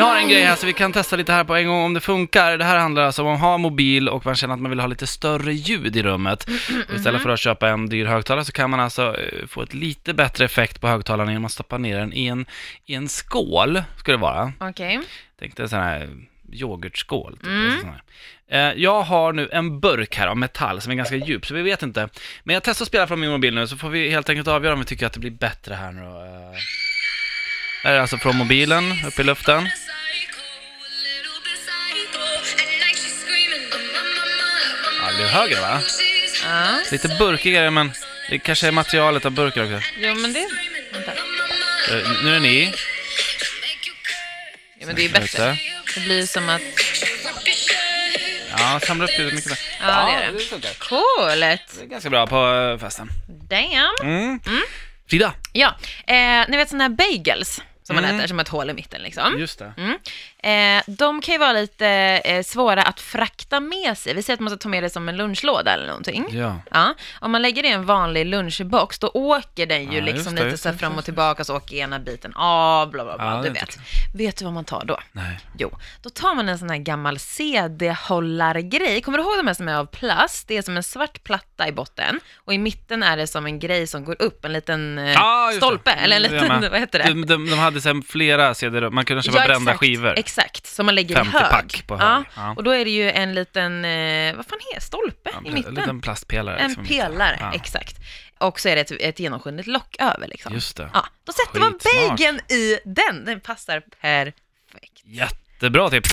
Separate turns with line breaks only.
en grej här så vi kan testa lite här på en gång om det funkar. Det här handlar alltså om att ha mobil och man känner att man vill ha lite större ljud i rummet. Och Istället för att köpa en dyr högtalare så kan man alltså eh, få ett lite bättre effekt på högtalaren genom att stoppa ner den i en, i en skål, ska det vara.
Okej.
Tänkte en sån här yoghurtskål. Typ, eller sån här. Eh, jag har nu en burk här av metall som är ganska djup, så vi vet inte. Men jag testar att spela från min mobil nu, så får vi helt enkelt avgöra om vi tycker att det blir bättre här nu. då. Eh, Det här är alltså från mobilen, upp i luften. Ja, det blir högre va?
Ja.
Lite burkigare, men det kanske är materialet av burken också.
Jo, men det... Vänta.
Eh, nu är den i.
Jo, men det är bättre.
Vänta.
Det blir som att...
Ja, samlar upp lite mycket där.
Ja, det är det.
funkar.
Coolt!
Det är ganska bra på eh, festen.
Damn!
Mm. Frida,
Ja, eh, ni vet sådana här bagels som man
Mm.
äter, som har ett hål i mitten liksom.
just det.
Mm. Eh, de kan ju vara lite eh, svåra att frakta med sig. Vi säger att man ska ta med det som en lunchlåda eller någonting.
Ja.
Ja, om man lägger det i en vanlig lunchbox, då åker den ju
Ja, just
liksom
det,
lite
just
så här
det,
fram och
just det.
tillbaka, så åker ena biten av, bla bla bla,
Ja,
du
det är
vet. Vet du vad man tar då?
Nej.
Jo, då tar man en sån här gammal CD-hållargrej. Kommer du ihåg de här som är av plast? Det är som en svart platta i botten och i mitten är det som en grej som går upp, en liten eh,
Ja, just det.
stolpe, eller en
Mm, det
liten,
med.
vad heter det?
De, de, de hade sen flera cd man kunde köpa brända
exakt,
skivor.
Exakt, som man lägger i
50
hög.
pack på hög,
Ja,
ja.
Och då är det ju en liten, eh, vad fan heter stolpe
Ja,
i
En
mitten?
liten plastpelare.
En
liksom i mitten.
pelare,
Ja.
exakt. Och så är det ett, ett genomskinligt lock över liksom.
Just det.
Ja, då sätter man
Skitsmart.
bageln i den, den passar perfekt.
Jättebra tips.